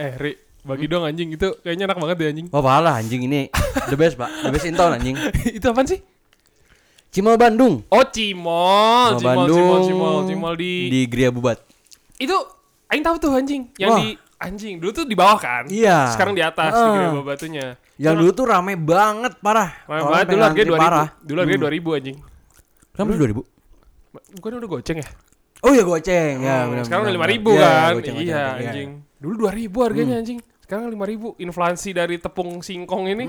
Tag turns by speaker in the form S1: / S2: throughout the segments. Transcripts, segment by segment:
S1: eh Ri bagi dong anjing itu kayaknya enak banget deh anjing
S2: Wah parah Oh, anjing ini the best pak, the best in town anjing.
S1: itu apaan sih
S2: Cimol Bandung.
S1: oh cimol
S2: Cimol
S1: cimol
S2: Bandung.
S1: cimol cimol cimol di,
S2: di Gria Bubat.
S1: itu aing tahu tuh anjing yang
S2: Wah.
S1: di anjing dulu tuh di bawah kan
S2: Iya.
S1: sekarang di atas
S2: Heeh.
S1: di Grebel batunya
S2: Yang dulu tuh rame banget parah.
S1: Ramai
S2: Orang
S1: banget dulu
S2: pengen
S1: harganya
S2: antri
S1: dua ribu
S2: parah. Hmm.
S1: dulu harganya dua ribu anjing
S2: Kenapa dua ribu?
S1: bukan udah goceng ya
S2: Oh iya goceng. Ya,
S1: Hmm,
S2: benar,
S1: sekarang udah
S2: benar,
S1: lima
S2: benar.
S1: ribu
S2: Iya, Hmm.
S1: kan
S2: goceng, goceng,
S1: iya
S2: goceng,
S1: anjing dulu dua ribu harganya anjing sekarang lima ribu inflasi dari tepung singkong ini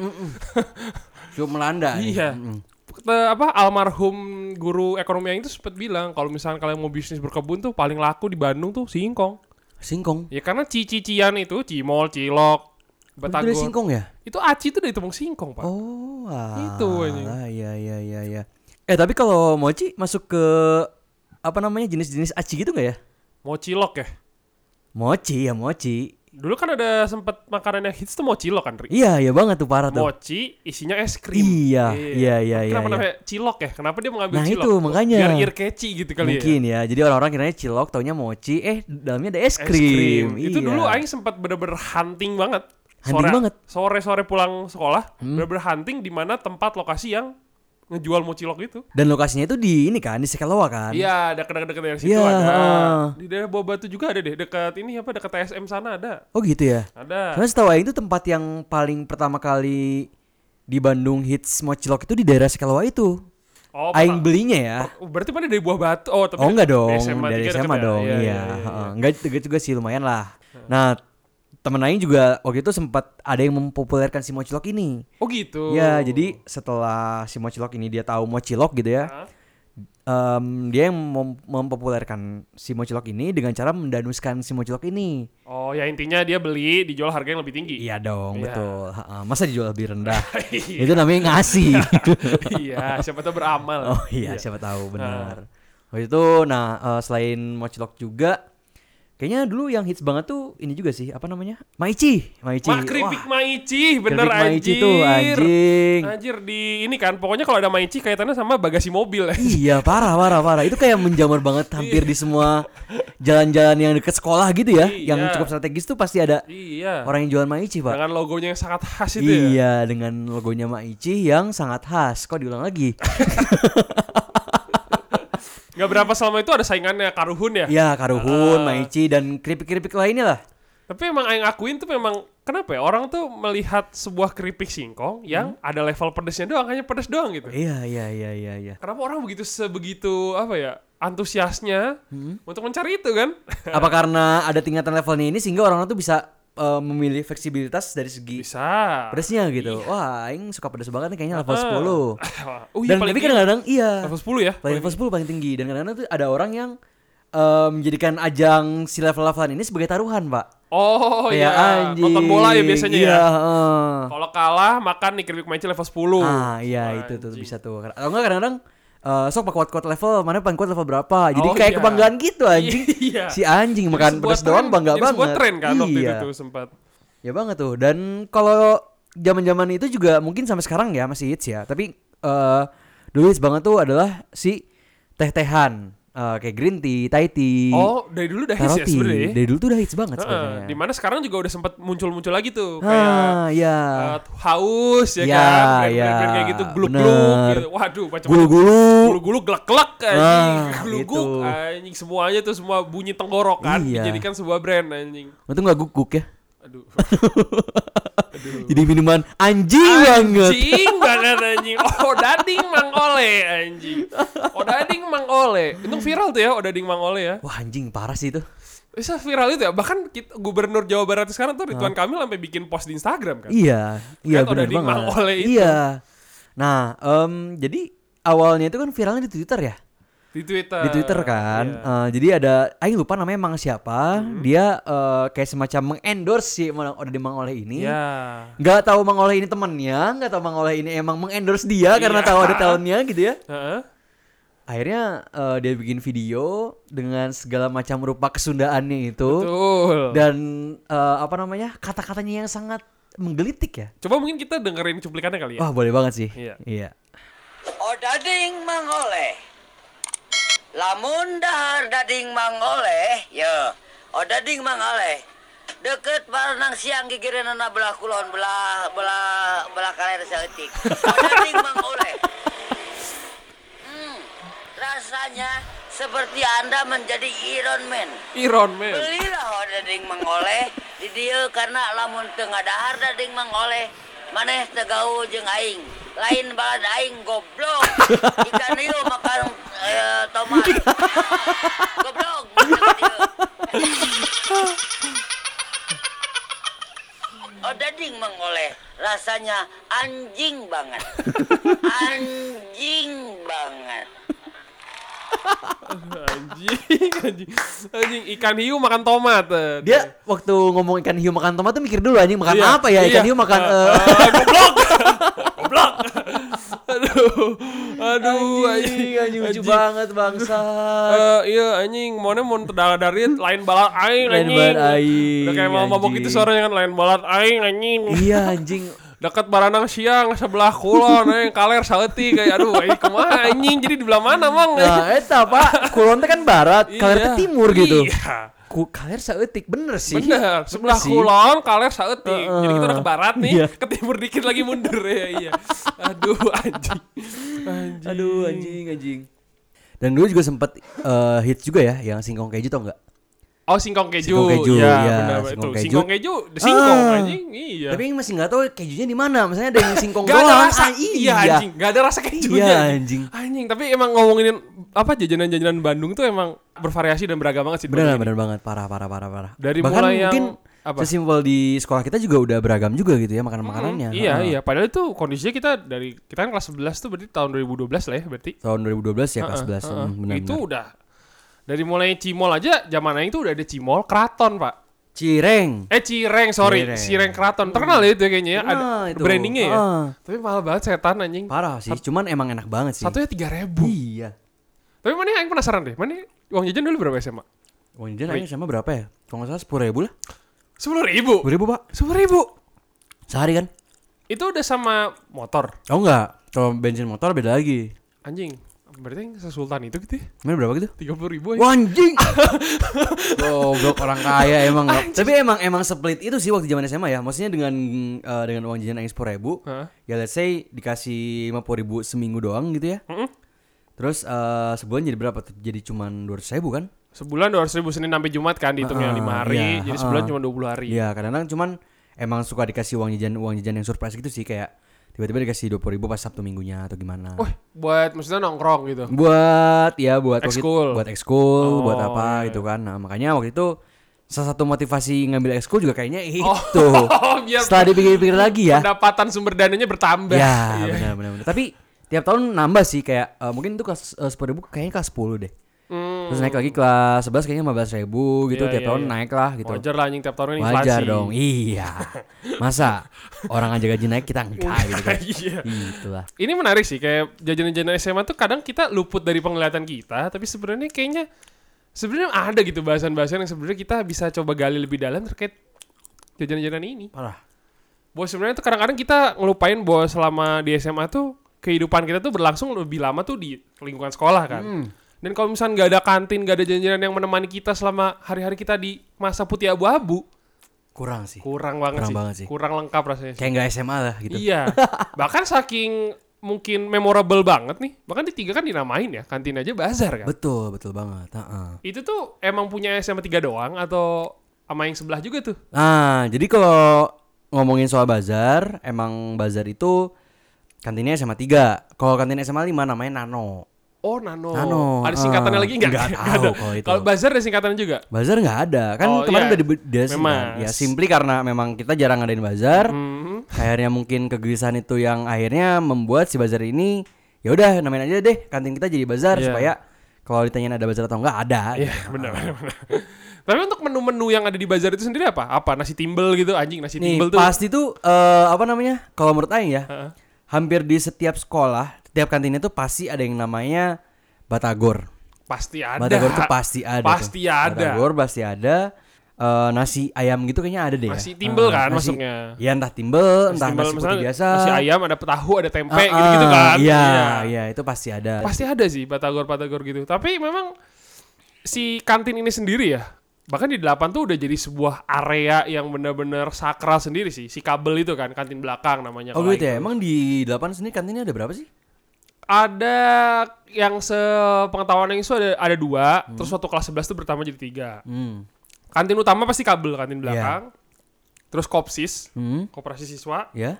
S2: Cuma melanda. nih.
S1: Iya.
S2: Mm-mm.
S1: Te- apa almarhum guru ekonomi yang itu sempat bilang kalau misalnya kalian mau bisnis berkebun tuh paling laku di Bandung tuh singkong
S2: Singkong.
S1: ya karena cici-cian itu cimol cilok
S2: Betul dari
S1: batagor
S2: singkong ya?
S1: itu aci itu dari tepung singkong pak
S2: Oh, ah,
S1: Itu, anjing.
S2: Iya iya iya iya.
S3: Eh tapi kalau mochi masuk ke apa namanya jenis-jenis aci gitu nggak ya?
S1: mau cilok ya
S3: Mochi ya mochi.
S1: dulu kan ada sempat makanan yang hits tuh mau cilok kan Ri?
S3: Iya iya banget tuh parah tuh.
S1: mochi isinya es krim.
S3: Iya iya iya iya.
S1: Kenapa
S3: iya.
S1: namanya cilok ya? Kenapa dia mengambil
S3: Nah,
S1: cilok?
S3: itu makanya.
S1: Biar ear catchy gitu kali
S3: Mungkin
S1: ya.
S3: ya. Jadi orang-orang kiranya cilok taunya mochi eh dalamnya ada
S1: Es
S3: es krim.
S1: krim. Itu
S3: Iya.
S1: dulu aing sempat bener-bener hunting banget.
S3: Hunting banget? Hmm.
S1: Sore-sore pulang sekolah, bener-bener hunting di mana tempat lokasi yang ngejual mau cilok itu.
S3: Dan lokasinya itu di ini kan di Sekelawa kan.
S1: Iya, ada dekat dekat dari situ
S3: Iya,
S1: ada.
S3: heeh.
S1: Di daerah Bawah Batu juga ada deh, dekat ini apa dekat TSM sana ada.
S3: Oh gitu ya.
S1: Ada.
S3: Karena setahu Aing itu tempat yang paling pertama kali di Bandung hits mocilok itu di daerah Sekelawa itu.
S1: Oh,
S3: Aing
S1: pernah-
S3: belinya ya.
S1: Oh, berarti mana dari Buah Batu? Oh, tapi
S3: Oh enggak dong,
S1: SMA
S3: dari
S1: tiga deket
S3: SMA
S1: ya?
S3: dong, iya. heeh. Enggak juga juga sih lumayan lah. Nah, temen Aing juga waktu itu sempat ada yang mempopulerkan si mocilok ini.
S1: Oh gitu.
S3: Ya, jadi setelah si mocilok ini dia tahu mocilok gitu ya,
S1: Hah?
S3: em, dia yang mem- mempopulerkan si mocilok ini dengan cara mendanuskan si mocilok ini.
S1: Oh ya intinya dia beli dijual harga yang lebih tinggi.
S3: Iya dong,
S1: Iya.
S3: betul. Heeh, masa dijual lebih rendah? itu namanya ngasih.
S1: iya, siapa tahu beramal.
S3: Oh iya, siapa tahu benar. Waktu itu nah eh, selain Mocilok juga kayaknya dulu yang hits banget tuh ini juga sih, apa namanya? Maici, Maici.
S1: Mak keripik Maici, bener
S3: keripik Maici
S1: anjir.
S3: tuh anjing.
S1: Anjir di ini kan, pokoknya kalau ada Maici kaitannya sama bagasi mobil.
S3: Iya, parah parah parah. Itu kayak menjamur banget
S1: Iya.
S3: hampir di semua jalan-jalan yang dekat sekolah gitu ya, yang
S1: Iya.
S3: cukup strategis tuh pasti ada
S1: iya.
S3: orang yang jualan Maici, Pak.
S1: Dengan logonya yang sangat khas itu ya.
S3: Iya, dengan logonya Maici yang sangat khas. Kok diulang lagi?
S1: Gak berapa selama itu ada saingannya Karuhun ya.
S3: Iya,
S1: Ah.
S3: Karuhun, Maici dan keripik-keripik lainnya lah.
S1: Tapi emang yang akuin tuh memang kenapa ya orang tuh melihat sebuah keripik singkong yang ada level pedesnya doang, hanya pedes doang gitu.
S3: Hmm. Iya, iya, iya, iya, iya.
S1: Kenapa orang begitu sebegitu apa ya antusiasnya
S3: Hmm.
S1: untuk mencari itu kan?
S3: apa karena ada tingkatan levelnya ini sehingga orang-orang tuh bisa eh, memilih fleksibilitas dari segi
S1: Bisa. Iya.
S3: pedesnya gitu. Wah, aing suka pedes banget nih kayaknya level
S1: Ah.
S3: 10.
S1: oh iya
S3: Dan
S1: paling
S3: tapi
S1: tinggi.
S3: kadang-kadang iya.
S1: level 10 ya.
S3: Paling level 10 paling tinggi dan kadang-kadang tuh ada orang yang eh, menjadikan ajang si level-levelan ini sebagai taruhan, Pak.
S1: Oh iya,
S3: Kayak Ya, anjing.
S1: nonton bola ya biasanya
S3: iya,
S1: ya.
S3: heeh.
S1: Kalau kalah makan nih keripik maci level 10.
S3: Ah, iya itu tuh bisa tuh. Atau enggak kadang-kadang eh, sok pak kuat-kuat level, mana paling kuat level berapa. Jadi
S1: Oh,
S3: kayak
S1: iya.
S3: kebanggaan gitu anjing.
S1: Iya.
S3: Si anjing
S1: Jadi
S3: makan
S1: sebuah
S3: pedas
S1: tren-
S3: doang bangga
S1: jadi sebuah
S3: banget.
S1: tren kan waktu
S3: iya.
S1: itu tuh sempat.
S3: Ya banget tuh. Dan kalau zaman-zaman itu juga mungkin sampai sekarang ya masih hits ya. Tapi eh dulu hits banget tuh adalah si teh-tehan Eh, kayak green tea, Thai tea,
S1: Oh, dari dulu udah hits
S3: taro
S1: ya
S3: tea.
S1: sebenarnya. ya?
S3: Iya. Dari dulu tuh udah hits banget
S1: Heeh,
S3: sebenarnya.
S1: Dimana sekarang juga udah sempat muncul-muncul lagi tuh kayak
S3: Ah, ya.
S1: eh, haus ya, kan,
S3: Ya, ya,
S1: brand-brand kayak gitu gluk-gluk
S3: bener.
S1: gitu. Waduh, macam
S3: Gulu-gulu.
S1: gulu-gulu glek-glek anjing,
S3: Ah,
S1: gluguk
S3: gitu.
S1: anjing semuanya tuh semua bunyi tenggorokan
S3: Iya.
S1: dijadikan sebuah brand anjing.
S3: Untung gak guguk ya.
S1: Aduh.
S3: Jadi minuman anjing, banget.
S1: Anjing banget anjing. Oh, dading Mang Ole anjing. Oh, dading Mang Ole. Untung viral tuh ya, oh dading Mang Ole ya.
S3: Wah anjing parah sih itu.
S1: Bisa viral itu ya. Bahkan kita- gubernur Jawa Barat sekarang tuh Ridwan Kamil sampai bikin post di Instagram kan.
S3: Ah. Iya, iya
S1: Kan udah
S3: benar
S1: dimang
S3: banget.
S1: oleh itu.
S3: Iya. Nah, em, jadi awalnya itu kan viralnya di Twitter ya.
S1: Di Twitter.
S3: Di Twitter kan.
S1: Iya. Mm-hmm.
S3: Eh, jadi ada aing lupa namanya Mang siapa, dia eh, kayak semacam mengendorse si Mang- udah dimang oleh ini.
S1: Iya.
S3: Nggak tahu Mang Oleh ini temennya, nggak tahu Mang Oleh ini emang mengendorse dia karena
S1: Iya.
S3: tahu ada tahunnya gitu ya.
S1: Heeh.
S3: Akhirnya eh, dia bikin video dengan segala macam rupa kesundaannya itu
S1: Betul.
S3: dan eh, apa namanya? kata-katanya yang sangat menggelitik ya.
S1: Coba mungkin kita dengerin cuplikannya kali
S4: Ah.
S1: ya.
S3: Wah boleh banget sih.
S1: Iya.
S5: Oh dading mangoleh. Lamun dahar dading mangoleh, yo. Oh dading mangoleh. Deket barenang siang gigireun na belah kulon belah belah belah kaler saeutik. Odading Oh, mangoleh. Hmm, rasanya seperti Anda menjadi Iron Man.
S1: Iron Man.
S5: Belilah odading oh, mangoleh di dieu karena lamun teu ngadahar dading mangoleh maneh teu gaul jeung aing. Lain balad aing goblok. Ikan ieu makan eh, tomat. goblok. bener ieu. Odading mengoleh Oh, rasanya anjing banget. Anjing banget.
S1: anjing, anjing, anjing. Ikan hiu makan tomat. eh.
S4: Dia waktu ngomong ikan hiu makan tomat tuh mikir dulu anjing makan
S1: Iya,
S4: apa ya? Ikan
S1: iya.
S4: hiu makan
S1: Eh,
S4: eh,
S1: eh, goblok. goblok. aduh. Aduh,
S4: anjing, anjing lucu
S1: anjing.
S4: banget bangsa.
S1: Eh, iya anjing, maunya mau terdala dari lain balat aing
S4: Lain
S1: anjing.
S4: balat aing,
S1: Udah kayak mau mabok
S4: anjing.
S1: itu suaranya kan lain balat aing anjing.
S4: iya anjing.
S1: Dekat baranang siang sebelah kulon aing kaler saeutik kayak aduh aing kumaha anjing jadi di belah mana mang?
S4: Nah, eta Pak, Kulon teh kan barat, Kaler teh
S1: Iya.
S4: timur gitu.
S1: Iya.
S4: Ku Kaler saeutik bener sih.
S1: Bener,
S3: Iya
S1: sebelah
S4: sih.
S1: kulon, kaler saeutik. Jadi kita udah ke barat nih,
S4: Iya.
S1: ke timur dikit lagi mundur ya. Iya. Aduh, anjing. Anjing.
S4: Aduh anjing anjing.
S3: Dan dulu juga sempet eh, hits juga ya yang singkong keju tau nggak?
S1: Oh, singkong keju.
S3: Singkong keju,
S1: ya,
S3: iya,
S1: benar itu.
S3: singkong keju.
S1: Singkong keju, the singkong
S3: Ah.
S1: anjing. Iya.
S3: Tapi yang masih nggak tahu kejunya di mana. Misalnya ada yang singkong
S1: Gak ada
S3: doang.
S1: rasa,
S3: Ah,
S1: iya anjing, gak ada rasa kejunya
S3: Iya, anjing.
S1: Anjing, tapi emang ngomongin apa jajanan-jajanan Bandung tuh emang bervariasi dan beragam banget sih di
S3: Benar
S1: Bandung ini.
S3: benar banget parah parah parah parah.
S1: Dari
S3: Bahkan
S1: mulai yang-
S3: mungkin
S1: apa?
S3: sesimpel di sekolah kita juga udah beragam juga gitu ya makanan makanannya.
S1: Iya, iya, padahal itu kondisinya kita dari, kita kan kelas 11 tuh berarti tahun 2012 lah ya berarti
S3: Tahun 2012 ya kelas
S1: Heeh,
S3: 11
S1: heeh.
S3: hmm, benar
S1: itu
S3: benar.
S1: udah dari mulai cimol aja zaman itu udah ada cimol keraton pak
S3: Cireng.
S1: eh cireng sorry
S3: Cireng.
S1: cireng keraton terkenal ya itu ya kayaknya ya ada
S3: Terkenal Nah, itu.
S1: brandingnya ya
S3: Ah.
S1: tapi mahal banget setan anjing
S3: Parah sih, cuman emang enak banget sih.
S1: satunya tiga ribu
S3: Iya.
S1: tapi mana yang penasaran deh mana uang jajan dulu berapa SMA
S3: Uang jajan akhirnya sama berapa ya? Kalau nggak salah sepuluh ribu
S1: Oh.
S3: lah.
S1: sepuluh ribu
S3: Sepuluh ribu pak?
S1: sepuluh ribu
S3: Sehari kan?
S1: itu udah sama motor
S3: Oh enggak, kalau bensin motor beda lagi.
S1: anjing berarti yang sesultan itu gitu ya
S3: Mana berapa gitu?
S1: tiga puluh ribu ya? anjing.
S3: Wah, anjing. Goblok orang kaya emang. nggak- Tapi emang emang split itu sih waktu zaman SMA ya. Maksudnya dengan eh, dengan uang jajan yang 10 ribu,
S1: Hah?
S3: ya let's say dikasih 50 ribu seminggu doang gitu ya.
S1: Mm-mm.
S3: Terus eh, sebulan jadi berapa? tuh? Jadi cuman 200 ribu kan?
S1: sebulan dua ratus ribu senin sampai jumat kan dihitungnya
S3: Heeh,
S1: lima hari
S3: iya,
S1: jadi sebulan
S3: heeh.
S1: cuma dua puluh hari
S3: Iya, kadang-kadang cuman emang suka dikasih uang jajan uang jajan yang surprise gitu sih kayak tiba-tiba dikasih 20 ribu pas Sabtu minggunya atau gimana.
S1: Wah, buat maksudnya nongkrong gitu
S3: buat ya buat waktu-
S1: Ekskul.
S3: buat
S1: Oh,
S3: ekskul buat
S1: iya,
S3: apa gitu kan nah makanya waktu itu salah satu motivasi ngambil ekskul juga kayaknya itu
S1: Oh. biar
S3: setelah dipikir-pikir lagi ya
S1: pendapatan sumber dananya bertambah.
S3: ya
S1: Iya.
S3: benar benar benar. tapi tiap tahun nambah sih kayak eh, mungkin itu kelas sepuluh ribu kayaknya kelas 10 deh
S1: Hmm.
S3: terus naik lagi kelas 11 kayaknya 15 ribu gitu
S1: Iya,
S3: tiap
S1: iya,
S3: tahun
S1: iya.
S3: naik lah gitu
S1: Wajar lah anjing tiap tahun kan inflasi.
S3: wajar dong iya masa orang aja gaji naik kita enggak gitu kan
S1: Iya.
S3: itulah
S1: Ini menarik sih kayak jajanan-jajanan SMA tuh kadang kita luput dari penglihatan kita, tapi sebenarnya kayaknya sebenarnya ada gitu bahasan-bahasan yang sebenarnya kita bisa coba gali lebih dalam terkait jajanan-jajanan ini.
S3: parah
S1: Bahwa sebenarnya tuh kadang-kadang kita ngelupain bahwa selama di SMA tuh kehidupan kita tuh berlangsung lebih lama tuh di lingkungan sekolah kan.
S3: Hmm.
S1: Dan kalau misalnya nggak ada kantin, nggak ada jajanan yang menemani kita selama hari-hari kita di masa putih abu-abu,
S3: kurang sih
S1: kurang banget
S3: Kurang
S1: sih.
S3: banget sih.
S1: Kurang lengkap rasanya.
S3: kayak nggak SMA lah gitu
S1: Iya. bahkan saking mungkin memorable banget nih. Bahkan di tiga kan dinamain ya, kantin aja bazar kan.
S3: betul betul banget Heeh.
S1: Itu tuh emang punya SMA 3 doang atau sama yang sebelah juga tuh?
S3: Nah, jadi kalau ngomongin soal bazar, emang bazar itu kantinnya SMA 3. Kalau kantin SMA 5 namanya Nano.
S1: Oh, Nano.
S3: Nano,
S1: Ada singkatannya
S3: ah.
S1: lagi nggak?
S3: Nggak
S1: Nggak
S3: tahu
S1: ada.
S3: kalau itu.
S1: Kalau bazar ada singkatan juga?
S3: Bazar nggak ada. Kan
S1: Oh,
S3: kemarin
S1: iya.
S3: udah dibedasin
S1: Memang.
S3: kan. Ya, simply karena memang kita jarang ngadain bazar.
S1: Hmm.
S3: Akhirnya mungkin kegelisahan itu yang akhirnya membuat si bazar ini ya udah namain aja deh kantin kita jadi bazar
S1: Iya.
S3: supaya kalau ditanyain ada bazar atau enggak ada.
S1: Iya, benar
S3: Ah.
S1: benar. benar. Tapi untuk menu-menu yang ada di bazar itu sendiri apa? Apa nasi timbel gitu anjing, nasi
S3: Nih,
S1: timbel tuh.
S3: pasti tuh eh, apa namanya? Kalau menurut aing ya,
S1: Heeh.
S3: hampir di setiap sekolah, setiap kantinnya tuh pasti ada yang namanya batagor.
S1: Pasti ada.
S3: Batagor tuh pasti ada.
S1: Pasti
S3: tuh.
S1: ada.
S3: Batagor pasti ada. Eh, nasi ayam gitu kayaknya ada deh. ya.
S1: Nasi timbel
S3: Eh,
S1: kan
S3: nasi-
S1: maksudnya.
S3: Ya entah timbel,
S1: Nasi
S3: entah
S1: timbel,
S3: nasi putih
S1: misalnya
S3: biasa.
S1: Nasi ayam ada tahu, ada
S3: Ah,
S1: tempe
S3: ah,
S1: gitu-gitu kan.
S3: Iya, iya itu pasti ada.
S1: Pasti ada sih batagor-batagor gitu. Tapi memang si kantin ini sendiri ya bahkan di delapan tuh udah jadi sebuah area yang bener-bener sakral sendiri sih si kabel itu kan kantin belakang namanya
S3: Oh
S1: kalau
S3: gitu ya.
S1: Icon.
S3: Emang di 8 sendiri kantinnya ada berapa sih?
S1: ada yang sepengetahuan yang itu ada ada dua terus waktu kelas 11 tuh bertambah jadi tiga
S3: Hmm.
S1: kantin utama pasti kabel kantin belakang terus kopsis
S3: Iya. Hmm.
S1: koperasi siswa
S3: Ya.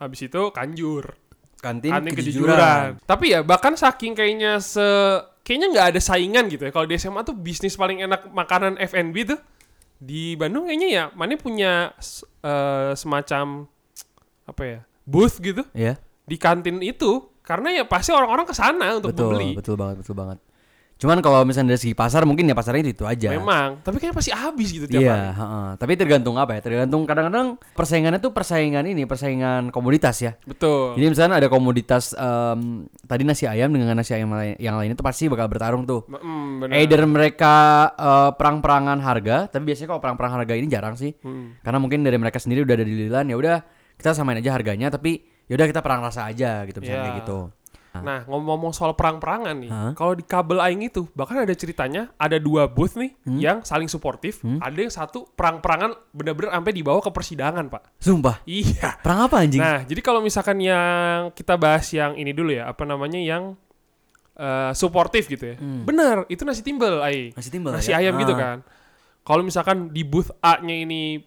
S1: habis itu kanjur
S3: Kantin,
S1: Aneh
S3: kejujuran.
S1: Tapi ya bahkan saking kayaknya se kayaknya nggak ada saingan gitu ya. Kalau di SMA tuh bisnis paling enak makanan F&B tuh di Bandung kayaknya ya. Mana punya s- eh, semacam apa ya booth gitu
S3: Ya.
S1: di kantin itu karena ya pasti orang-orang ke sana untuk
S3: Betul,
S1: membeli.
S3: betul banget, betul banget. Cuman kalau misalnya dari segi pasar mungkin ya pasarnya itu aja.
S1: Memang, tapi kayaknya pasti habis gitu tiap
S3: Iya,
S1: hari.
S3: heeh. tapi tergantung apa ya? Tergantung kadang-kadang persaingannya tuh persaingan ini, persaingan komoditas ya.
S1: Betul.
S3: Jadi misalnya ada komoditas em, tadi nasi ayam dengan nasi ayam lain- yang lain itu pasti bakal bertarung tuh.
S1: Mm, benar.
S3: Either mereka eh, perang-perangan harga, tapi biasanya kalau perang-perang harga ini jarang sih.
S1: Hmm.
S3: Karena mungkin dari mereka sendiri udah ada di lilan ya udah kita samain aja harganya tapi ya udah kita perang rasa aja gitu misalnya
S1: Iya.
S3: kayak gitu.
S1: Nah, ngomong-ngomong soal perang-perangan nih.
S3: Hah?
S1: Kalau di kabel aing itu bahkan ada ceritanya ada dua booth nih
S3: Hmm?
S1: yang saling suportif, ada yang satu perang-perangan bener-bener sampai dibawa ke persidangan, Pak.
S3: Sumpah.
S1: Iya.
S3: Perang apa anjing?
S1: Nah, jadi kalau misalkan yang kita bahas yang ini dulu ya, apa namanya yang eh, suportif gitu ya. Bener, itu nasi timbel, Ai.
S3: Hmm. Nasi timbel,
S1: Nasi
S3: ya?
S1: ayam gitu kan.
S3: Ah.
S1: Kalau misalkan di booth A-nya ini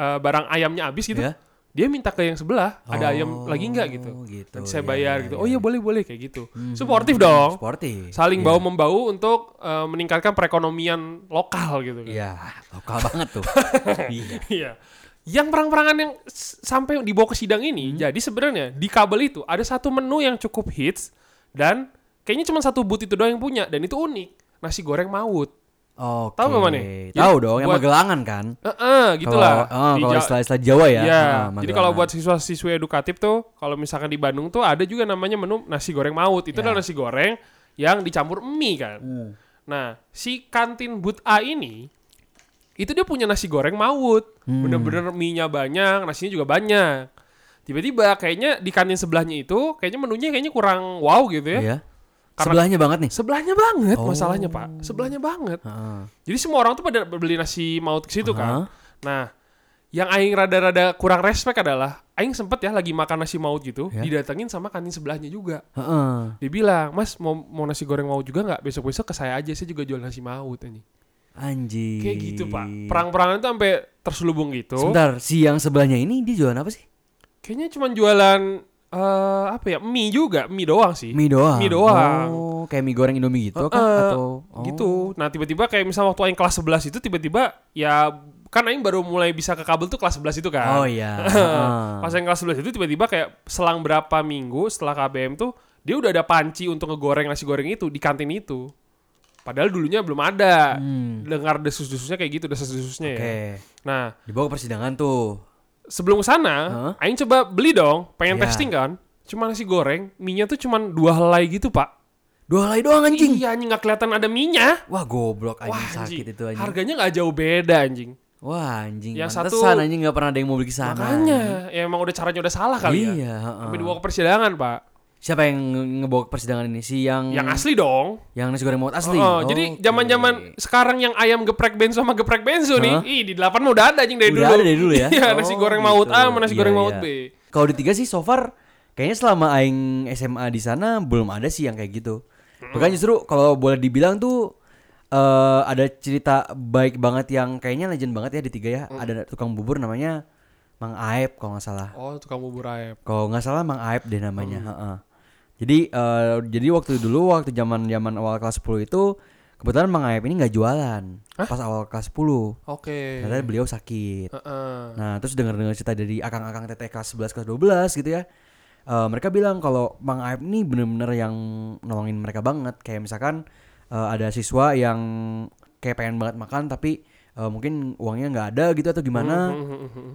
S1: eh, barang ayamnya habis gitu,
S3: Ya.
S1: dia minta ke yang sebelah, ada ayam
S3: Oh,
S1: lagi nggak gitu.
S3: gitu,
S1: Nanti saya
S3: ya,
S1: bayar
S3: ya,
S1: gitu.
S3: ya.
S1: Oh iya boleh-boleh kayak gitu.
S3: Hmm,
S1: Suportif dong.
S3: Sporty.
S1: Saling
S3: Iya.
S1: bau membau untuk eh, meningkatkan perekonomian lokal gitu kan.
S3: Iya, lokal banget tuh. Iya.
S1: Iya. Yang perang-perangan yang s- sampai dibawa ke sidang ini,
S3: Hmm.
S1: jadi sebenarnya di kabel itu ada satu menu yang cukup hits dan kayaknya cuma satu but itu doang yang punya dan itu unik, nasi goreng maut.
S3: Oke.
S1: Tahu nggak, Mane?
S3: Tahu
S1: Jadi
S3: dong, yang
S1: buat-
S3: magelangan kan.
S1: Heeh, gitulah.
S3: Kalau- oh,
S1: Di
S3: kalau
S1: Ja-
S3: istilah-istilah Jawa ya.
S1: Iya.
S3: ah,
S1: Jadi
S3: magelangan.
S1: kalau buat siswa-siswi edukatif tuh, kalau misalkan di Bandung tuh ada juga namanya menu nasi goreng maut.
S3: Iya.
S1: Itu adalah nasi goreng yang dicampur mie kan.
S3: Hmm.
S1: Nah, si kantin But A ini itu dia punya nasi goreng maut.
S3: Hmm.
S1: Bener-bener mie-nya banyak, nasinya juga banyak. Tiba-tiba kayaknya di kantin sebelahnya itu kayaknya menunya kayaknya kurang wow gitu ya.
S3: Iya. Oh.
S1: Karena-
S3: Sebelahnya banget nih.
S1: Sebelahnya banget masalahnya, Pak. Sebelahnya banget.
S3: Heeh.
S1: Jadi semua orang tuh pada beli nasi maut ke situ
S3: Aha.
S1: kan. Nah, yang aing rada-rada kurang respect adalah aing sempet ya lagi makan nasi maut gitu,
S3: Ya.
S1: didatengin sama kantin sebelahnya juga.
S3: Heeh.
S1: Dia bilang, "Mas, mau mau nasi goreng maut juga nggak? Besok-besok ke saya aja, saya juga jual nasi maut anjing."
S3: Anjing.
S1: Kayak gitu, Pak. Perang-perangan itu sampai terselubung gitu.
S3: Sebentar, si yang sebelahnya ini dia jualan apa sih?
S1: Kayaknya cuma jualan eh apa ya? Mie juga, mie doang sih.
S3: Mie doang.
S1: Iya. Mie doang.
S3: Oh, kayak mie goreng Indomie gitu kah?
S1: Eh,
S3: atau oh.
S1: gitu. Nah, tiba-tiba kayak misal waktu aing kelas 11 itu tiba-tiba ya kan aing baru mulai bisa ke kabel tuh kelas 11 itu kan.
S3: Oh iya.
S1: Pas yang kelas 11 itu tiba-tiba kayak selang berapa minggu setelah KBM tuh dia udah ada panci untuk ngegoreng nasi goreng itu di kantin itu. Padahal dulunya belum ada. Dengar desus-desusnya kayak gitu, desas-desusnya
S3: Hmm. Oke.
S1: ya. Nah,
S3: Dibawa ke persidangan tuh.
S1: sebelum ke sana,
S3: Huh?
S1: aing coba beli dong, pengen
S3: Iya.
S1: testing kan. Cuma nasi goreng, minyak tuh cuman dua helai gitu, Pak.
S3: Dua helai doang anjing.
S1: Iya, anjing nggak kelihatan ada minyak.
S3: Wah, goblok anjing
S1: Wah,
S3: sakit
S1: anjing.
S3: itu anjing.
S1: Harganya nggak jauh beda, anjing.
S3: Wah, anjing.
S1: Yang
S3: pantesan
S1: satu-
S3: anjing nggak pernah ada yang mau beli ke sana.
S1: Makanya, ya emang udah caranya udah salah kali ya.
S3: Iya, heeh.
S1: Sampai dibawa ke persidangan, Pak.
S3: Siapa yang nge- ngebawa ke persidangan ini? Si yang
S1: Yang asli dong.
S3: yang nasi goreng maut Hmm. asli.
S1: Oh, jadi zaman-zaman sekarang yang ayam geprek benzo sama geprek benzo nih,
S3: Hah?
S1: ih di delapan mah udah ada anjing dari
S3: Udah
S1: dulu.
S3: ada dari dulu ya?
S1: Iya, nasi
S3: Oh,
S1: goreng maut
S3: gitu.
S1: A sama nasi
S3: Iya,
S1: goreng maut
S3: iya.
S1: B.
S3: Kalau di tiga sih so far kayaknya selama aing SMA di sana belum ada sih yang kayak gitu. Makanya justru kalau boleh dibilang tuh eh ada cerita baik banget yang kayaknya legend banget ya di tiga ya.
S1: Mm.
S3: Ada tukang bubur namanya Mang Aep kalau nggak salah.
S1: Oh, tukang bubur ayam.
S3: Kalau nggak salah Mang Aep deh namanya.
S1: Oh.
S3: heeh. Jadi eh, jadi waktu dulu waktu zaman zaman awal kelas 10 itu kebetulan Mang Aep ini nggak jualan pas awal kelas 10.
S1: Oke.
S3: Karena beliau sakit.
S1: Heeh.
S3: Nah, terus dengar-dengar cerita dari akang-akang teteh kelas 11 kelas 12 gitu ya. Eh, mereka bilang kalau Mang Aep ini bener-bener yang nolongin mereka banget. Kayak misalkan eh, ada siswa yang kayak pengen banget makan tapi eh, mungkin uangnya nggak ada gitu atau
S1: Hmm,
S3: gimana.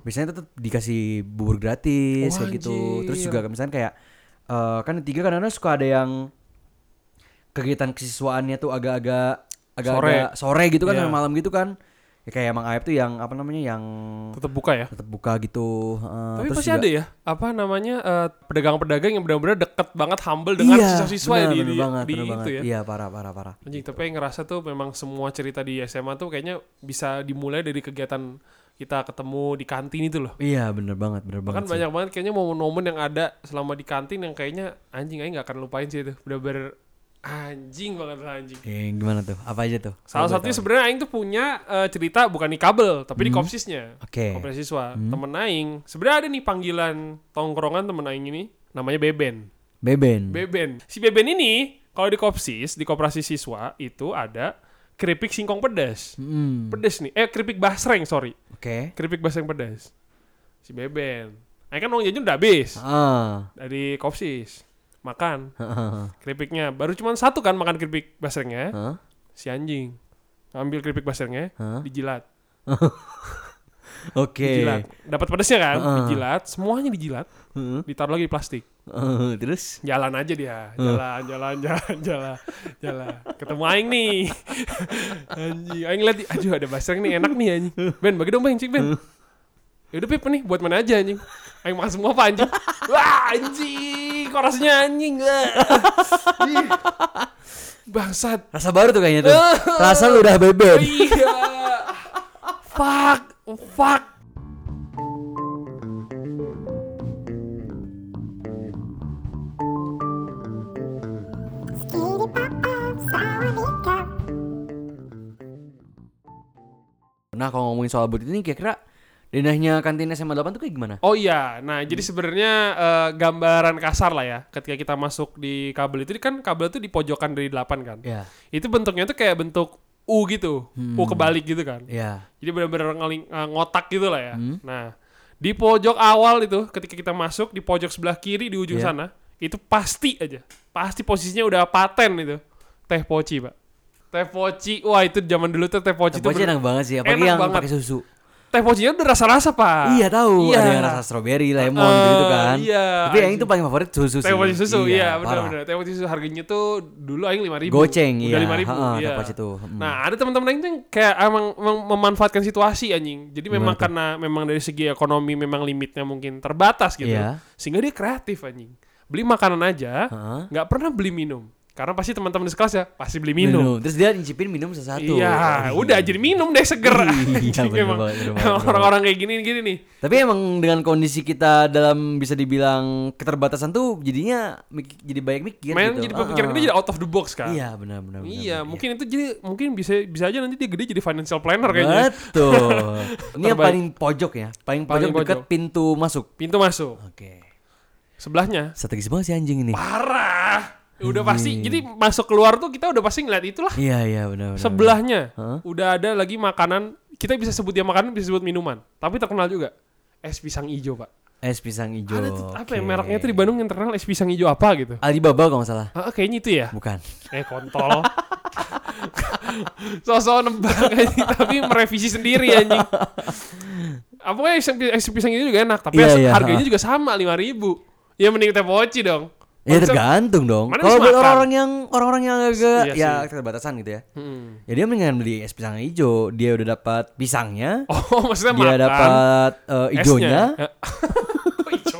S3: Biasanya tetap dikasih bubur gratis
S1: Wah,
S3: kayak gitu. Terus
S1: anjir.
S3: juga misalnya kayak eh, kan tiga kadang-kadang suka ada yang kegiatan kesiswaannya tuh agak-agak agak-agak sore. gitu kan
S1: Iya.
S3: sampai malam gitu kan. Ya kayak Mang Aep tuh yang apa namanya yang
S1: tetap buka ya.
S3: tetap buka gitu. eh,
S1: Tapi
S3: terus
S1: pasti
S3: juga-
S1: ada ya apa namanya eh, pedagang-pedagang yang benar-benar deket banget humble dengan
S3: Iya,
S1: siswa-siswa ya
S3: benar,
S1: di,
S3: benar
S1: di,
S3: banget,
S1: di
S3: benar
S1: itu
S3: banget.
S1: ya.
S3: Iya, parah parah parah.
S1: Anjing, tapi yang ngerasa tuh memang semua cerita di SMA tuh kayaknya bisa dimulai dari kegiatan kita ketemu di kantin itu loh.
S3: Iya, bener banget, bener banget.
S1: Bahkan
S3: sih.
S1: banyak banget kayaknya momen-momen yang ada selama di kantin yang kayaknya anjing aja nggak akan lupain sih itu. Bener-bener anjing banget lah anjing.
S3: Eh, gimana tuh? Apa aja tuh?
S1: Salah
S3: Coba
S1: satunya
S3: tahu.
S1: sebenarnya Aing tuh punya eh, cerita bukan di kabel tapi di
S3: Hmm.
S1: kopsisnya.
S3: Oke. Hmm.
S1: Koperasi siswa. Temen Aing. Sebenarnya ada nih panggilan tongkrongan temen Aing ini. Namanya Beben.
S3: Beben.
S1: Beben. Si Beben ini kalau di kopsis, di koperasi siswa itu ada keripik singkong pedas.
S3: Hmm,
S1: Pedas nih. Eh keripik basreng sorry.
S3: Oke.
S1: Keripik basreng pedas. Si Beben. Aing kan uang jajan udah habis
S3: Ah.
S1: dari kopsis. Makan keripiknya. Baru cuma satu kan makan keripik basrengnya.
S3: Hah?
S1: Si anjing ngambil keripik basrengnya,
S3: Hah?
S1: dijilat. Dijilat.
S3: Oke.
S1: Dapat pedasnya kan?
S3: Heeh.
S1: Dijilat, semuanya dijilat.
S3: Heeh.
S1: Ditaruh lagi di plastik.
S3: Eh, terus
S1: Jalan aja dia. Jalan, jalan, jalan, jalan, jalan. Ketemu aing nih. anjing, aing lihat, di- aduh ada basreng nih enak nih anjing. Ben, bagi dong Bang, cik Ben. Ya udah Pip nih buat mana aja anjing. Aing makan semua apa anjing? Wah, anjing, kok rasanya anjing. Ah. Ih. Bangsat.
S3: rasa baru tuh kayaknya tuh. rasa lu udah
S1: Ah.
S3: beben.
S1: Iya. fuck, fuck.
S3: Nah, kalau ngomongin soal but ini kira-kira denahnya kantin SMA 8 tuh kayak gimana?
S1: Oh iya, nah
S3: Hmm.
S1: jadi sebenarnya eh, gambaran kasar lah ya. Ketika kita masuk di kabel itu kan kabel itu di pojokan dari 8 kan.
S3: Ya.
S1: Itu bentuknya tuh kayak bentuk U gitu. U
S3: Hmm.
S1: kebalik gitu kan.
S3: Ya.
S1: Jadi benar-benar ngeling- eh, ngotak gitu lah ya.
S3: Hmm.
S1: Nah, di pojok awal itu ketika kita masuk di pojok sebelah kiri di ujung
S3: Iya.
S1: sana, itu pasti aja. Pasti posisinya udah paten itu. Teh poci, Pak. Teh poci. Wah, itu zaman dulu tuh teh poci itu
S3: Tapi
S1: bener-
S3: enak banget sih, apalagi
S1: Enak
S3: yang
S1: banget.
S3: pakai susu.
S1: teh pocinya udah rasa-rasa, Pak.
S3: Iya tahu,
S1: Iya.
S3: ada yang rasa strawberry, lemon
S1: Eh,
S3: gitu kan.
S1: iya,
S3: Tapi yang
S1: anjing.
S3: itu paling favorit susu sih.
S1: Teh poci susu, iya,
S3: parah.
S1: benar-benar. Teh poci susu harganya tuh dulu aing lima ribu,
S3: Goceng,
S1: udah
S3: iya.
S1: lima ribu,
S3: Ha-ha,
S1: iya.
S3: teh poci tuh, mm.
S1: Nah, ada teman-teman aing tuh yang kayak ah, emang, emang memanfaatkan situasi anjing. Jadi memang karena memang dari segi ekonomi memang limitnya mungkin terbatas gitu,
S3: Iya.
S1: sehingga dia kreatif anjing. Beli makanan aja,
S3: Ha-ha.
S1: nggak pernah beli minum, karena pasti teman-teman di sekelas ya pasti beli
S3: Minum.
S1: minum.
S3: Terus dia nyicipin minum satu-satu.
S1: Iya, udah jadi minum deh seger.
S3: Iya,
S1: Anjing,
S3: bener
S1: emang.
S3: banget, bener banget, bener
S1: Orang-orang kayak gini gini nih.
S3: Tapi emang dengan kondisi kita dalam bisa dibilang keterbatasan tuh jadinya mik- jadi banyak mikir
S1: Main
S3: gitu.
S1: jadi pemikiran
S3: Ah,
S1: kita
S3: ah.
S1: jadi out of the box kan.
S3: Iya, benar benar. benar,
S1: Iya,
S3: benar.
S1: mungkin itu jadi mungkin bisa bisa aja nanti dia gede jadi financial planner kayaknya.
S3: Betul. Ini yang
S1: Terbaik.
S3: paling pojok ya, paling
S1: Paling
S3: pojok dekat
S1: pojok.
S3: pintu masuk.
S1: Pintu masuk
S3: Oke.
S1: sebelahnya.
S3: Strategis banget sih anjing ini.
S1: Parah. Udah pasti. Jadi masuk keluar tuh kita udah pasti ngeliat itulah.
S3: Iya, iya benar benar.
S1: Sebelahnya
S3: Hah?
S1: udah ada lagi makanan. Kita bisa sebut dia makanan, bisa sebut minuman. Tapi terkenal juga es pisang ijo, Pak.
S3: benar. es pisang hijau.
S1: Ada tuh apa ya
S3: Oke.
S1: mereknya tuh di Bandung yang terkenal es pisang ijo apa gitu.
S3: Alibaba kalau nggak salah.
S1: Ah, kayaknya itu ya.
S3: Bukan.
S1: Eh kontol. Sosok nebak anjing, tapi merevisi sendiri anjing. Apa kayak es, es pisang itu juga enak, tapi
S3: Iya,
S1: as-
S3: iya,
S1: harganya
S3: ha.
S1: juga sama 5000. Ya mending teh poci dong.
S3: Ya
S1: Konsep-
S3: tergantung dong.
S1: Mana
S3: Kalau
S1: bisa
S3: buat
S1: makan?
S3: orang-orang yang orang-orang yang
S1: Iya
S3: agak
S1: sih.
S3: ya keterbatasan gitu ya.
S1: Hmm.
S3: Ya dia mendingan beli es pisang hijau, dia udah dapat pisangnya,
S1: Oh, maksudnya
S3: dia
S1: makan.
S3: dapat eh,
S1: esnya.
S3: hijaunya.
S1: Ya. Kok Ijo.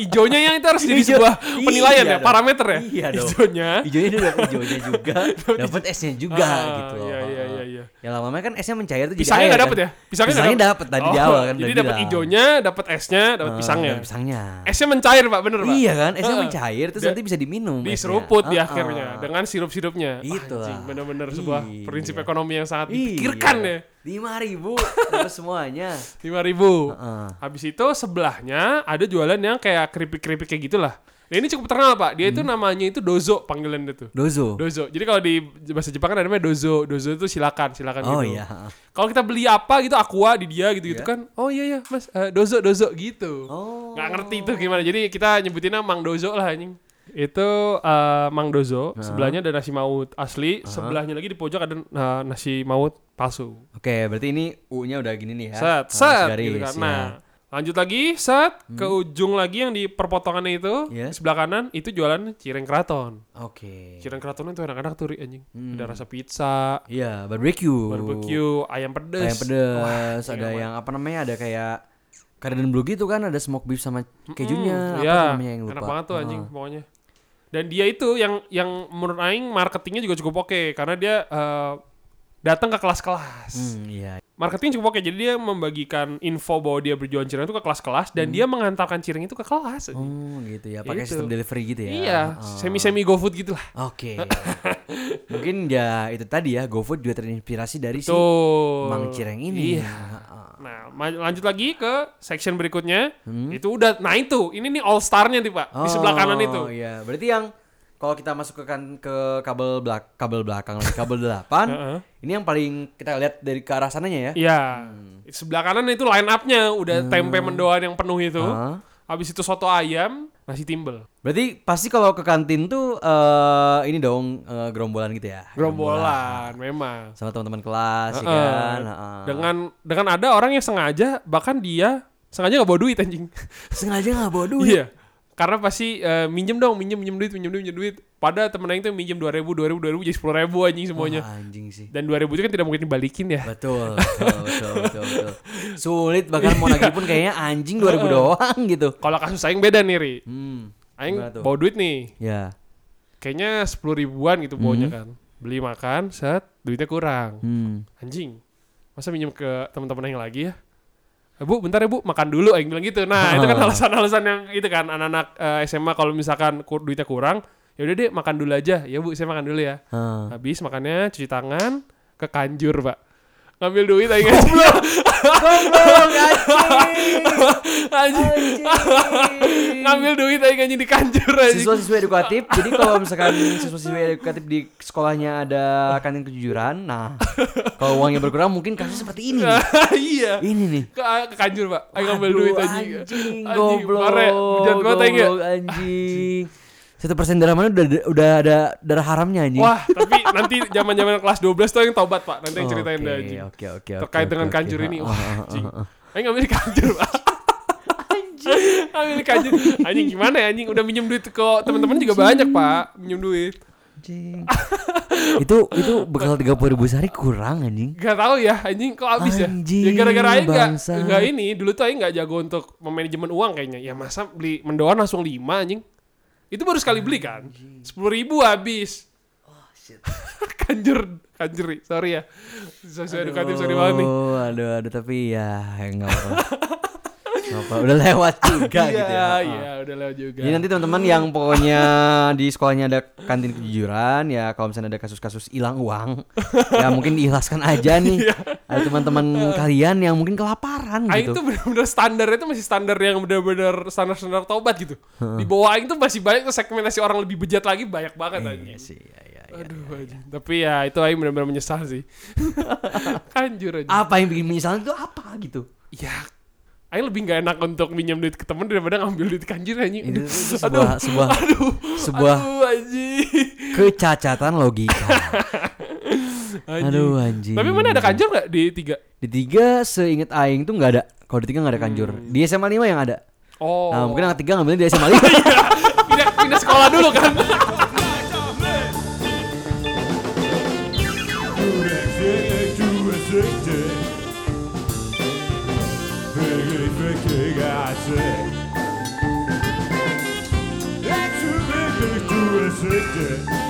S1: Ijonya yang itu harus jadi
S3: Ijo-
S1: sebuah penilaian
S3: iya
S1: ya,
S3: dong.
S1: parameter ya.
S3: Iya dong.
S1: Ijonya.
S3: Hijaunya dia dapat hijaunya juga, dapat esnya juga
S1: Ah,
S3: gitu.
S1: iya, iya, iya, iya.
S3: Ya lama-lama kan esnya mencair tuh
S1: Pisangnya
S3: jadi air
S1: nggak
S3: kan.
S1: dapat ya? Pisangnya nggak
S3: Pisangnya dapat tadi
S1: Oh,
S3: di awal kan.
S1: Jadi
S3: udah
S1: dapat
S3: bilang.
S1: ijonya, dapat esnya, dapat
S3: Eh,
S1: pisangnya.
S3: dapat pisangnya.
S1: Esnya mencair, Pak, bener, Pak.
S3: Iya kan, esnya
S1: Heeh.
S3: mencair terus
S1: Da-
S3: nanti bisa diminum. esnya.
S1: Eh, diseruput di
S3: Ah,
S1: akhirnya
S3: ah.
S1: dengan sirup-sirupnya.
S3: Itulah.
S1: Anjing, bener-bener sebuah
S3: Iya.
S1: prinsip ekonomi yang sangat dipikirkan ya.
S3: Lima ribu dapat semuanya. Eh,
S1: 5000
S3: Heeh.
S1: Habis itu sebelahnya ada jualan yang kayak keripik-keripik kayak gitulah. Nah, ini cukup terkenal, Pak. Dia
S3: Hmm.
S1: itu namanya itu dozo panggilan dia tuh.
S3: Dozo.
S1: Dozo. Jadi kalau di bahasa Jepang kan ada namanya dozo. Dozo itu silakan, silakan
S3: Oh
S1: gitu.
S3: iya.
S1: Kalau kita beli apa gitu aqua di dia gitu-gitu kan. Oh iya iya, Mas, eh, dozo dozo gitu.
S3: Oh.
S1: Nggak ngerti itu gimana. Jadi kita nyebutinnya Mang Dozo lah anjing. Itu eh, Mang Dozo, sebelahnya ada nasi maut asli, sebelahnya lagi di pojok ada eh, nasi maut palsu.
S3: Oke, berarti ini U-nya udah gini nih ya.
S1: Set,
S3: Harus
S1: set
S3: garis,
S1: gitu kan.
S3: ya. Hmm.
S1: Nah, Lanjut lagi, set ke ujung lagi yang di perpotongannya itu,
S3: Iya.
S1: di sebelah kanan itu jualan cireng keraton.
S3: Oke.
S1: Cireng keraton itu enak-enak tuh, Ri, anjing.
S3: Hmm.
S1: Ada rasa pizza,
S3: Iya, barbecue.
S1: barbecue, ayam pedes.
S3: Ayam pedes,
S1: Wah,
S3: ada
S1: gila.
S3: yang apa namanya? Ada kayak Garden Blue gitu kan, ada smoke beef sama kejunya,
S1: Hmm,
S3: apa
S1: iya,
S3: namanya yang lupa. Oh.
S1: Enak banget tuh anjing pokoknya. Dan dia itu yang yang menurut aing marketingnya juga cukup oke karena dia eh, datang ke kelas-kelas.
S3: Hmm, iya.
S1: Marketing cukup oke jadi dia membagikan info bahwa dia berjualan cireng itu ke kelas-kelas dan dia mengantarkan cireng itu ke kelas. anjing.
S3: Hmm. Oh, gitu ya, pakai
S1: Gitu.
S3: sistem delivery gitu ya.
S1: Iya,
S3: Oh.
S1: semi-semi GoFood gitu lah.
S3: Oke. Mungkin ya itu tadi ya, GoFood juga terinspirasi dari si
S1: Tuh.
S3: Mang Cireng ini.
S1: Iya.
S3: Heeh.
S1: Nah, ma- lanjut lagi ke section berikutnya.
S3: Hmm.
S1: Itu udah nah itu, ini nih all star-nya nih, Pak. Di sebelah kanan itu.
S3: Oh iya, berarti yang kalau kita masuk ke kan ke kabel belak kabel belakang lagi kabel 8.
S1: Heeh.
S3: ini yang paling kita lihat dari ke arah sananya ya.
S1: Iya. Sebelah kanan itu line up-nya udah
S3: Hmm.
S1: tempe mendoan yang penuh itu.
S3: Heeh.
S1: Habis itu soto ayam, nasi timbel.
S3: Berarti pasti kalau ke kantin tuh eh ini dong eh, gerombolan gitu ya.
S1: Gerombolan memang.
S3: Sama teman-teman kelas ya
S1: Heeh.
S3: kan. heeh.
S1: Dengan dengan ada orang yang sengaja bahkan dia sengaja nggak bawa duit anjing.
S3: sengaja nggak bawa duit.
S1: Iya. Karena pasti eh, minjem dong, minjem minjem duit, minjem duit, minjem duit. Pada temen aing tuh minjem 2000, 2000, 2000 jadi 10.000 anjing semuanya.
S3: Wah, anjing sih.
S1: Dan 2000 itu kan tidak mungkin dibalikin ya.
S3: Betul, betul, betul, betul, betul. Sulit bahkan mau nagih pun kayaknya anjing 2000 doang gitu.
S1: Kalau kasus aing beda nih, Ri.
S3: Hmm.
S1: Aing
S3: Gimana tuh?
S1: bawa duit nih.
S3: Ya.
S1: Kayaknya 10 ribuan gitu bawanya kan. Beli makan, set, duitnya kurang.
S3: Hmm.
S1: anjing masa minjem ke teman-teman yang lagi ya "Eh, bu bentar ya bu makan dulu yang bilang gitu nah itu kan alasan-alasan yang itu kan anak-anak eh, SMA kalau misalkan kur- duitnya kurang ya udah deh makan dulu aja ya bu saya makan dulu ya
S3: Heeh.
S1: habis makannya cuci tangan ke kanjur pak ngambil duit
S3: Oh,
S1: aja
S3: iya.
S1: anjing ngambil duit aja anjing di kanjur aja
S3: siswa-siswa edukatif. Jadi kalau misalkan siswa-siswa edukatif di sekolahnya ada kantin kejujuran, nah kalau uangnya berkurang mungkin kasus seperti ini. nih.
S1: iya
S3: Ini nih.
S1: ke, ke kanjur pak ayo ngambil
S3: Aduh,
S1: duit anjing
S3: Anjing,
S1: Anjing,
S3: goblok.
S1: bare, bejat banget ya? aja
S3: goblok, anjing. Satu persen darah mana udah udah ada darah haramnya anjing.
S1: Wah, tapi nanti zaman-zaman kelas 12 tuh yang taubat, Pak. Nanti yang ceritain
S3: Oke,
S1: dah anjing.
S3: Oke, oke, oke.
S1: Terkait
S3: oke,
S1: dengan
S3: oke.
S1: kanjur ini.
S3: Ah,
S1: Wah,
S3: ah,
S1: anjing.
S3: ah, ah.
S1: Ayo ngambil kanjur, Pak. Anjing. Ambil kanjur. Anjing gimana ya anjing? Udah minjem duit ke teman-teman juga banyak, Pak. Minjem duit.
S3: Anjing. itu itu bekal 30 ribu sehari kurang anjing.
S1: Gak tahu ya anjing kok habis ya. Ya
S3: Anjing,
S1: gara-gara aing gak,
S3: bangsa.
S1: gak ini, dulu tuh aing gak jago untuk memanajemen uang kayaknya. Ya masa beli mendoan langsung 5 anjing. Itu baru sekali beli kan? 10 ribu habis. kanjur, kanjur, Ri. sorry ya. Sosial edukatif, sorry banget nih.
S3: Oh, aduh, aduh, tapi ya enggak apa-apa. Nggak apa, udah lewat juga gitu ya.
S1: Iya,
S3: Ah. gitu.
S1: iya, udah lewat juga.
S3: Jadi nanti teman-teman yang pokoknya di sekolahnya ada kantin kejujuran ya kalau misalnya ada kasus-kasus hilang uang ya mungkin diikhlaskan aja
S1: Iya.
S3: nih. ada teman-teman kalian yang mungkin kelaparan
S1: Aing
S3: gitu.
S1: tuh bener-bener standarnya tuh masih standar yang bener-bener standar-standar taubat gitu. Di bawah Aing tuh masih banyak tuh segmentasi orang lebih bejat lagi banyak banget anjing.
S3: Sih, ya, ya, ya.
S1: Aduh anjing. Tapi ya itu Aing bener-bener menyesal sih. Kanjur aja.
S3: Apa yang bikin menyesal itu apa gitu?
S1: Ya. Aing lebih gak enak untuk minjem duit ke temen daripada ngambil duit kanjur anjing. Aduh,
S3: Itu, itu sebuah sebuah
S1: aduh,
S3: sebuah
S1: aduh anjing.
S3: kecacatan logika.
S1: Anjing.
S3: Aduh anjing.
S1: Tapi mana ada kanjur gak di tiga?
S3: Di tiga seinget aing tuh nggak ada. Kalau di tiga nggak ada kanjur. Di SMA 5 yang ada.
S1: Hmm. Oh.
S3: Nah, mungkin anak tiga ngambilnya di SMA 5.
S1: pindah, pindah sekolah dulu kan.
S6: That's a big, big,